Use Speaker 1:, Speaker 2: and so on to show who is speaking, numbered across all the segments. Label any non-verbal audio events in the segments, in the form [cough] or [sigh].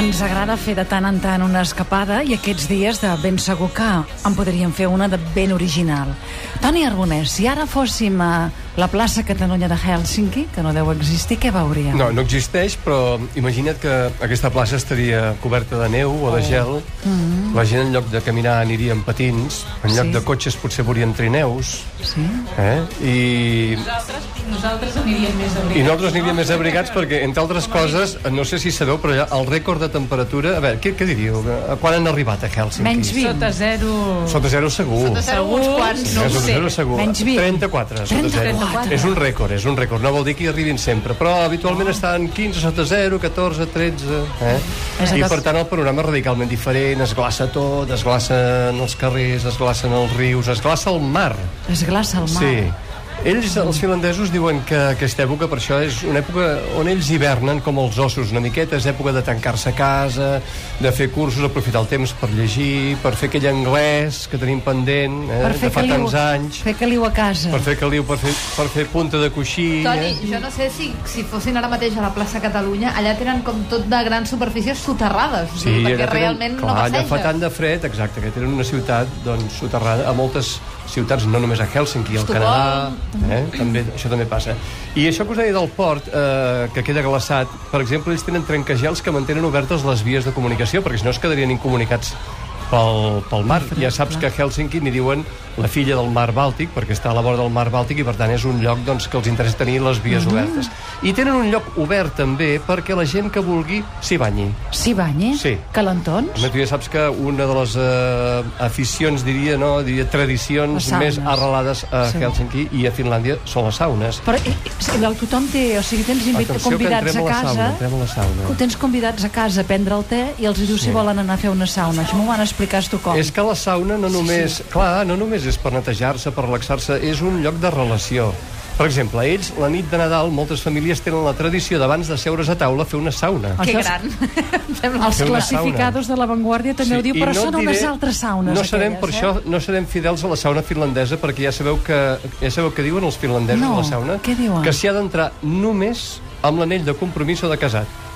Speaker 1: Ens agrada fer de tant en tant una escapada i aquests dies de ben segur que en podríem fer una de ben original. Toni Arbonès, si ara fóssim a la plaça Catalunya de Helsinki, que no deu existir, què veuríem?
Speaker 2: No, no existeix, però imagina't que aquesta plaça estaria coberta de neu o de gel. La gent, en lloc de caminar, aniria amb patins. En lloc
Speaker 1: Sí.
Speaker 2: de cotxes, potser veurien trineus.
Speaker 1: Sí?
Speaker 2: Eh? I,
Speaker 3: Nosaltres, nosaltres aniríem més
Speaker 2: I
Speaker 3: abrigats.
Speaker 2: nosaltres aniríem més abrigats perquè, entre altres coses, no sé si sabeu, però ja el rècord de temperatura... A veure, què, què diríeu? A quan han arribat a Helsinki?
Speaker 1: Menys 20.
Speaker 3: Sota Tota zero...
Speaker 2: Sota zero segur. Sota
Speaker 3: Segons quants, no ho
Speaker 2: sota
Speaker 3: sé.
Speaker 2: zero segur.
Speaker 1: Menys 20.
Speaker 2: 34. Sota
Speaker 1: 34.
Speaker 2: Zero. És un rècord, és un rècord. No vol dir que hi arribin sempre, però habitualment estan 15 sota 0, 14, 13... Eh?
Speaker 1: És
Speaker 2: I,
Speaker 1: aquest-
Speaker 2: per tant, el panorama és radicalment diferent. Es glaça tot, es glacen els carrers, es glacen els rius, es glaça el mar.
Speaker 1: Es glaça el mar.
Speaker 2: Sí. Ells, els finlandesos, diuen que aquesta època, per això, és una època on ells hivernen com els ossos una miqueta, és època de tancar-se a casa, de fer cursos, aprofitar el temps per llegir, per fer aquell anglès que tenim pendent eh,
Speaker 1: Per fer
Speaker 2: de fa
Speaker 1: caliu,
Speaker 2: tants anys,
Speaker 1: fer caliu a casa.
Speaker 2: per fer caliu, per fer, per fer punta de coixí...
Speaker 4: Toni,
Speaker 2: eh?
Speaker 4: jo no sé si, si fossin ara mateix a la plaça Catalunya, allà tenen com tot de grans superfícies soterrades, o sigui, perquè
Speaker 2: allà tenen-
Speaker 4: realment
Speaker 2: clar,
Speaker 4: no
Speaker 2: allà
Speaker 4: passeja.
Speaker 2: fa tant de fred, exacte, que tenen una ciutat doncs, soterrada a moltes ciutats, no només a Helsinki, al
Speaker 4: Estocolm.
Speaker 2: Canadà, eh? també, això també passa. I això que us deia del port, eh, que queda glaçat, per exemple, ells tenen trencagels que mantenen obertes les vies de comunicació, perquè si no es quedarien incomunicats pel, pel mar. Ja saps que a Helsinki n'hi diuen la filla del mar Bàltic, perquè està a la vora del mar Bàltic i, per tant, és un lloc doncs, que els interessa tenir les vies
Speaker 4: Mhm.
Speaker 2: obertes. I tenen un lloc obert, també, perquè la gent que vulgui s'hi banyi.
Speaker 1: Sí, banye?
Speaker 2: Sí.
Speaker 1: Calentons?
Speaker 2: Home, tu ja saps que una de les eh, aficions, diria, no, diria tradicions
Speaker 1: Les saunes.
Speaker 2: més arrelades a
Speaker 1: Sí.
Speaker 2: Helsinki i a Finlàndia són les saunes.
Speaker 1: Però eh, eh, tothom té... O sigui, tens invit,
Speaker 2: Atenció, que
Speaker 1: convidats a
Speaker 2: entrem a la
Speaker 1: casa...
Speaker 2: sauna, entrem a la sauna.
Speaker 1: Ho Tens convidats a casa a prendre el te i els dius si volen anar a fer una sauna. Això m'ho van explicar a Estocolm.
Speaker 2: És que la sauna no només, clar, no només és per netejar-se, per relaxar-se, és un lloc de relació. Per exemple, ells, la nit de Nadal, moltes famílies tenen la tradició d'abans de seure's a taula fer una sauna.
Speaker 4: Que
Speaker 1: Això és-
Speaker 4: gran. Em
Speaker 2: [laughs]
Speaker 4: sembla
Speaker 1: Els
Speaker 2: Fer una
Speaker 1: classificadors de l'avantguàrdia també ho diu,
Speaker 2: i
Speaker 1: però
Speaker 2: et
Speaker 1: són
Speaker 2: diré-
Speaker 1: unes altres saunes.
Speaker 2: No serem, per
Speaker 1: aquelles, eh?
Speaker 2: això, no serem fidels a la sauna finlandesa, perquè ja sabeu que, ja sabeu que diuen els finlandesos
Speaker 1: No,
Speaker 2: a la sauna.
Speaker 1: què diuen?
Speaker 2: Que s'hi ha d'entrar només amb l'anell de compromís o de casat.
Speaker 1: Eh?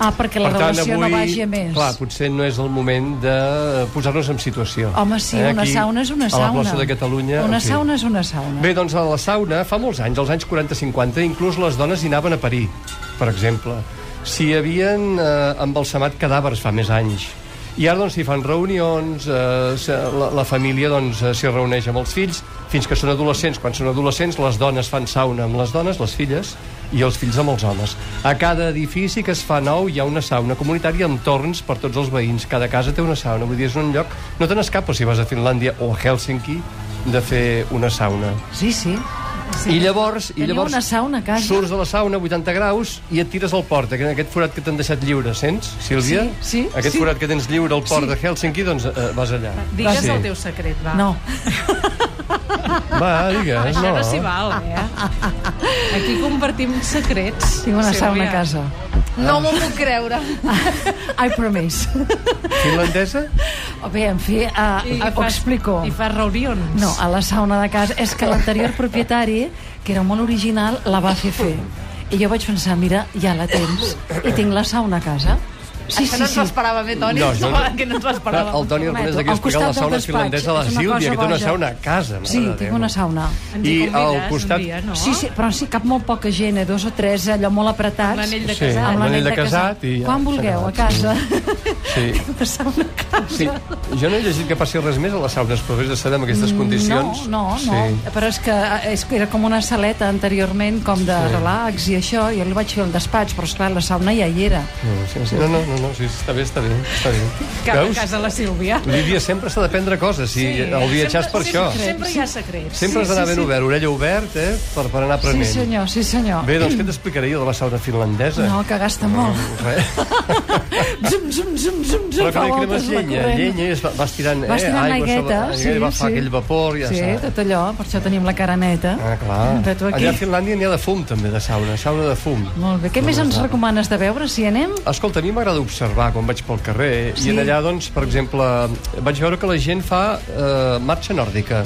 Speaker 1: Ah, perquè la relació no vagi a més.
Speaker 2: clar, potser no és el moment de posar-nos en situació.
Speaker 1: Home, sí, una sauna és una sauna.
Speaker 2: eh, A la plaça de Catalunya.
Speaker 1: Una
Speaker 2: en fi.
Speaker 1: sauna és una sauna.
Speaker 2: Bé, doncs a la sauna, fa molts anys, als anys 40-50, inclús les dones hi anaven a parir, per exemple. S'hi havien eh, embalsamat cadàvers fa més anys. I ara doncs s'hi fan reunions, eh, se- la, la família doncs eh, s'hi reuneix amb els fills, fins que són adolescents. Quan són adolescents, les dones fan sauna amb les dones, les filles, i els fills amb els homes. A cada edifici que es fa nou hi ha una sauna comunitària amb torns per tots els veïns. Cada casa té una sauna. Vull dir, és un lloc... No te n'escapes si vas a Finlàndia o a Helsinki de fer una sauna.
Speaker 1: Sí, sí.
Speaker 2: Sí. I llavors... I
Speaker 1: Teniu
Speaker 2: llavors
Speaker 1: una sauna a casa?
Speaker 2: Surts de la sauna, 80 graus, i et tires al port, en aquest forat que t'han deixat lliure, sents, Sílvia?
Speaker 1: Sí, sí,
Speaker 2: Aquest
Speaker 1: sí.
Speaker 2: forat que tens lliure al port sí. de Helsinki, doncs eh, vas allà.
Speaker 3: Digues
Speaker 2: sí.
Speaker 3: el teu secret, va.
Speaker 1: No,
Speaker 2: Va, digues,
Speaker 3: Això
Speaker 2: no.
Speaker 3: no s'hi val, eh? Aquí compartim secrets.
Speaker 1: tinc una
Speaker 3: Sílvia.
Speaker 1: sauna a casa.
Speaker 4: No m'ho puc creure.
Speaker 1: I promise. [laughs]
Speaker 2: Finlandesa?
Speaker 1: Bé, en fi, uh,
Speaker 3: I,
Speaker 1: ho explico.
Speaker 3: I fas reunions.
Speaker 1: No, a la sauna de casa. És que l'anterior propietari, que era molt original, la va fer fer. I jo vaig pensar, mira, ja la tens. I tinc la sauna a casa. Sí,
Speaker 4: Això no ens
Speaker 1: sí,
Speaker 4: ho
Speaker 1: sí.
Speaker 4: esperàvem, eh, Toni?
Speaker 2: No, jo no.
Speaker 4: que no ens ho
Speaker 2: Clar,
Speaker 4: esperàvem.
Speaker 2: el Toni Arbonés
Speaker 1: prometo.
Speaker 2: aquí
Speaker 1: Al
Speaker 2: explicant
Speaker 1: costat
Speaker 2: la
Speaker 1: del
Speaker 2: sauna
Speaker 1: despatx.
Speaker 2: finlandesa a la
Speaker 1: És una
Speaker 2: Sílvia,
Speaker 1: cosa
Speaker 2: que té una
Speaker 1: boja.
Speaker 2: sauna a casa. mare
Speaker 1: Sí,
Speaker 2: de
Speaker 1: tinc
Speaker 2: Déu.
Speaker 1: una sauna.
Speaker 3: Ens
Speaker 2: I
Speaker 3: hi
Speaker 2: al
Speaker 3: convidaràs
Speaker 2: costat...
Speaker 3: un dia, no?
Speaker 1: Sí, sí, però sí, cap molt poca gent, eh? dos o tres, allò molt apretats.
Speaker 3: L'anell de
Speaker 2: Sí.
Speaker 3: casat.
Speaker 2: Amb l'anell de casat i ja
Speaker 1: Quan
Speaker 2: s'ha
Speaker 1: vulgueu, a
Speaker 2: acabat,
Speaker 1: casa.
Speaker 2: Sí.
Speaker 1: [laughs] Una sauna a casa. Mm,
Speaker 2: Sí, jo no he llegit que passi res més a les saunes, però vés de saber amb aquestes condicions.
Speaker 1: No, no, no.
Speaker 2: Sí.
Speaker 1: Sí. Però és que, eh, és que era com una saleta anteriorment, com de
Speaker 2: Sí.
Speaker 1: sí. relax i això. Jo li vaig fer el despatx, però esclar, la sauna ja hi era.
Speaker 2: No, sí, sí. no, no, no, no, sí, està bé, està bé. Està bé.
Speaker 3: Cap a casa la Sílvia.
Speaker 2: Lídia, sempre s'ha d'aprendre coses, sí, sí, el viatjar és per
Speaker 3: sempre,
Speaker 2: això.
Speaker 3: Sempre, sempre hi ha secrets.
Speaker 2: Sempre has d'anar ben obert, orella obert, eh, per, per anar
Speaker 1: Sí,
Speaker 2: aprenent.
Speaker 1: senyor, sí, senyor.
Speaker 2: Bé, doncs què t'explicaré jo de la sauna finlandesa?
Speaker 1: No, Oh. que gasta molt.
Speaker 2: Res.
Speaker 1: Zum, zum, zum, zum, zum,
Speaker 2: Però que
Speaker 1: fa
Speaker 2: li cremes
Speaker 1: voltes la
Speaker 2: llenya,
Speaker 1: corrent.
Speaker 2: llenya i es va, vas tirant,
Speaker 1: Vas
Speaker 2: eh,
Speaker 1: tirant
Speaker 2: aigua
Speaker 1: aigueta,
Speaker 2: sobre,
Speaker 1: sí,
Speaker 2: va
Speaker 1: sí.
Speaker 2: fer aquell vapor i ja
Speaker 1: Sí,
Speaker 2: està.
Speaker 1: tot allò, per això tenim la cara neta.
Speaker 2: Ah, clar.
Speaker 1: De tu aquí.
Speaker 2: Allà a Finlàndia n'hi ha de fum, també, de sauna, sauna de fum.
Speaker 1: Molt bé. Què més ens recomanes de veure, si anem?
Speaker 2: Escolta, a mi m'agrada observar quan vaig pel carrer sí.
Speaker 1: Sí.
Speaker 2: i en allà, doncs, per exemple, vaig veure que la gent fa eh, marxa nòrdica,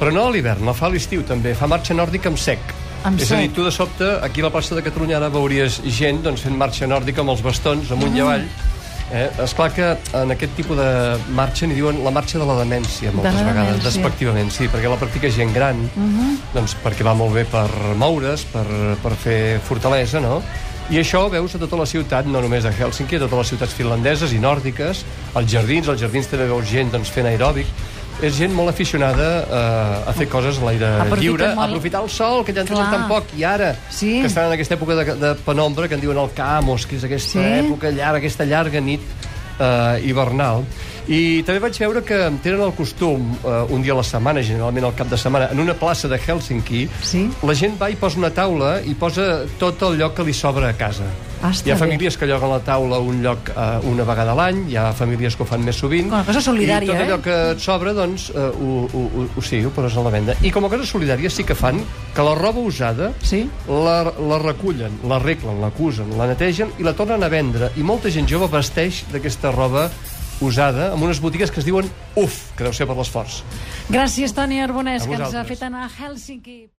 Speaker 2: però no a l'hivern, la fa a l'estiu també, fa marxa nòrdica amb sec.
Speaker 1: Amb
Speaker 2: És a dir,
Speaker 1: sec.
Speaker 2: tu de sobte, aquí a la plaça de Catalunya ara veuries gent doncs, fent marxa nòrdica amb els bastons, amunt mm. i avall, Eh, és clar que en aquest tipus de marxa n'hi diuen la marxa de la demència moltes
Speaker 1: De la
Speaker 2: vegades,
Speaker 1: demència.
Speaker 2: despectivament, sí, perquè la practica gent gran,
Speaker 1: Mhm.
Speaker 2: doncs perquè va molt bé per moure's, per, per fer fortalesa, no? I això ho veus a tota la ciutat, no només a Helsinki, a totes les ciutats finlandeses i nòrdiques, als jardins, als jardins també veus gent doncs, fent aeròbic, és gent molt aficionada eh, a fer coses a l'aire
Speaker 1: Aprofiten
Speaker 2: lliure,
Speaker 1: molt-
Speaker 2: aprofitar el sol, que ja en tenim
Speaker 1: Clar.
Speaker 2: tan poc, i ara,
Speaker 1: Sí.
Speaker 2: que estan en aquesta època de, de penombra, que en diuen el Camos, que és aquesta
Speaker 1: Sí.
Speaker 2: època època llarga, aquesta llarga nit eh, hivernal. I també vaig veure que tenen el costum, eh, un dia a la setmana, generalment al cap de setmana, en una plaça de Helsinki,
Speaker 1: Sí.
Speaker 2: la gent va i posa una taula i posa tot el lloc que li sobra a casa.
Speaker 1: Ah, està
Speaker 2: hi ha
Speaker 1: bé.
Speaker 2: famílies que lloguen la taula un lloc eh, una vegada a l'any, hi ha famílies que ho fan més sovint.
Speaker 1: Com a cosa solidària,
Speaker 2: I tot allò
Speaker 1: eh?
Speaker 2: que et sobra, doncs, eh, ho, ho, ho, ho, sí, ho poses a la venda. I com a cosa solidària sí que fan que la roba usada
Speaker 1: Sí.
Speaker 2: la, la recullen, l'arreglen, l'acusen, la netegen i la tornen a vendre. I molta gent jove vesteix d'aquesta roba usada amb unes botigues que es diuen UF, que deu ser per l'esforç.
Speaker 1: Gràcies, Toni Arbonès,
Speaker 2: A
Speaker 1: que ens ha
Speaker 2: vosaltres.
Speaker 1: fet anar a Helsinki.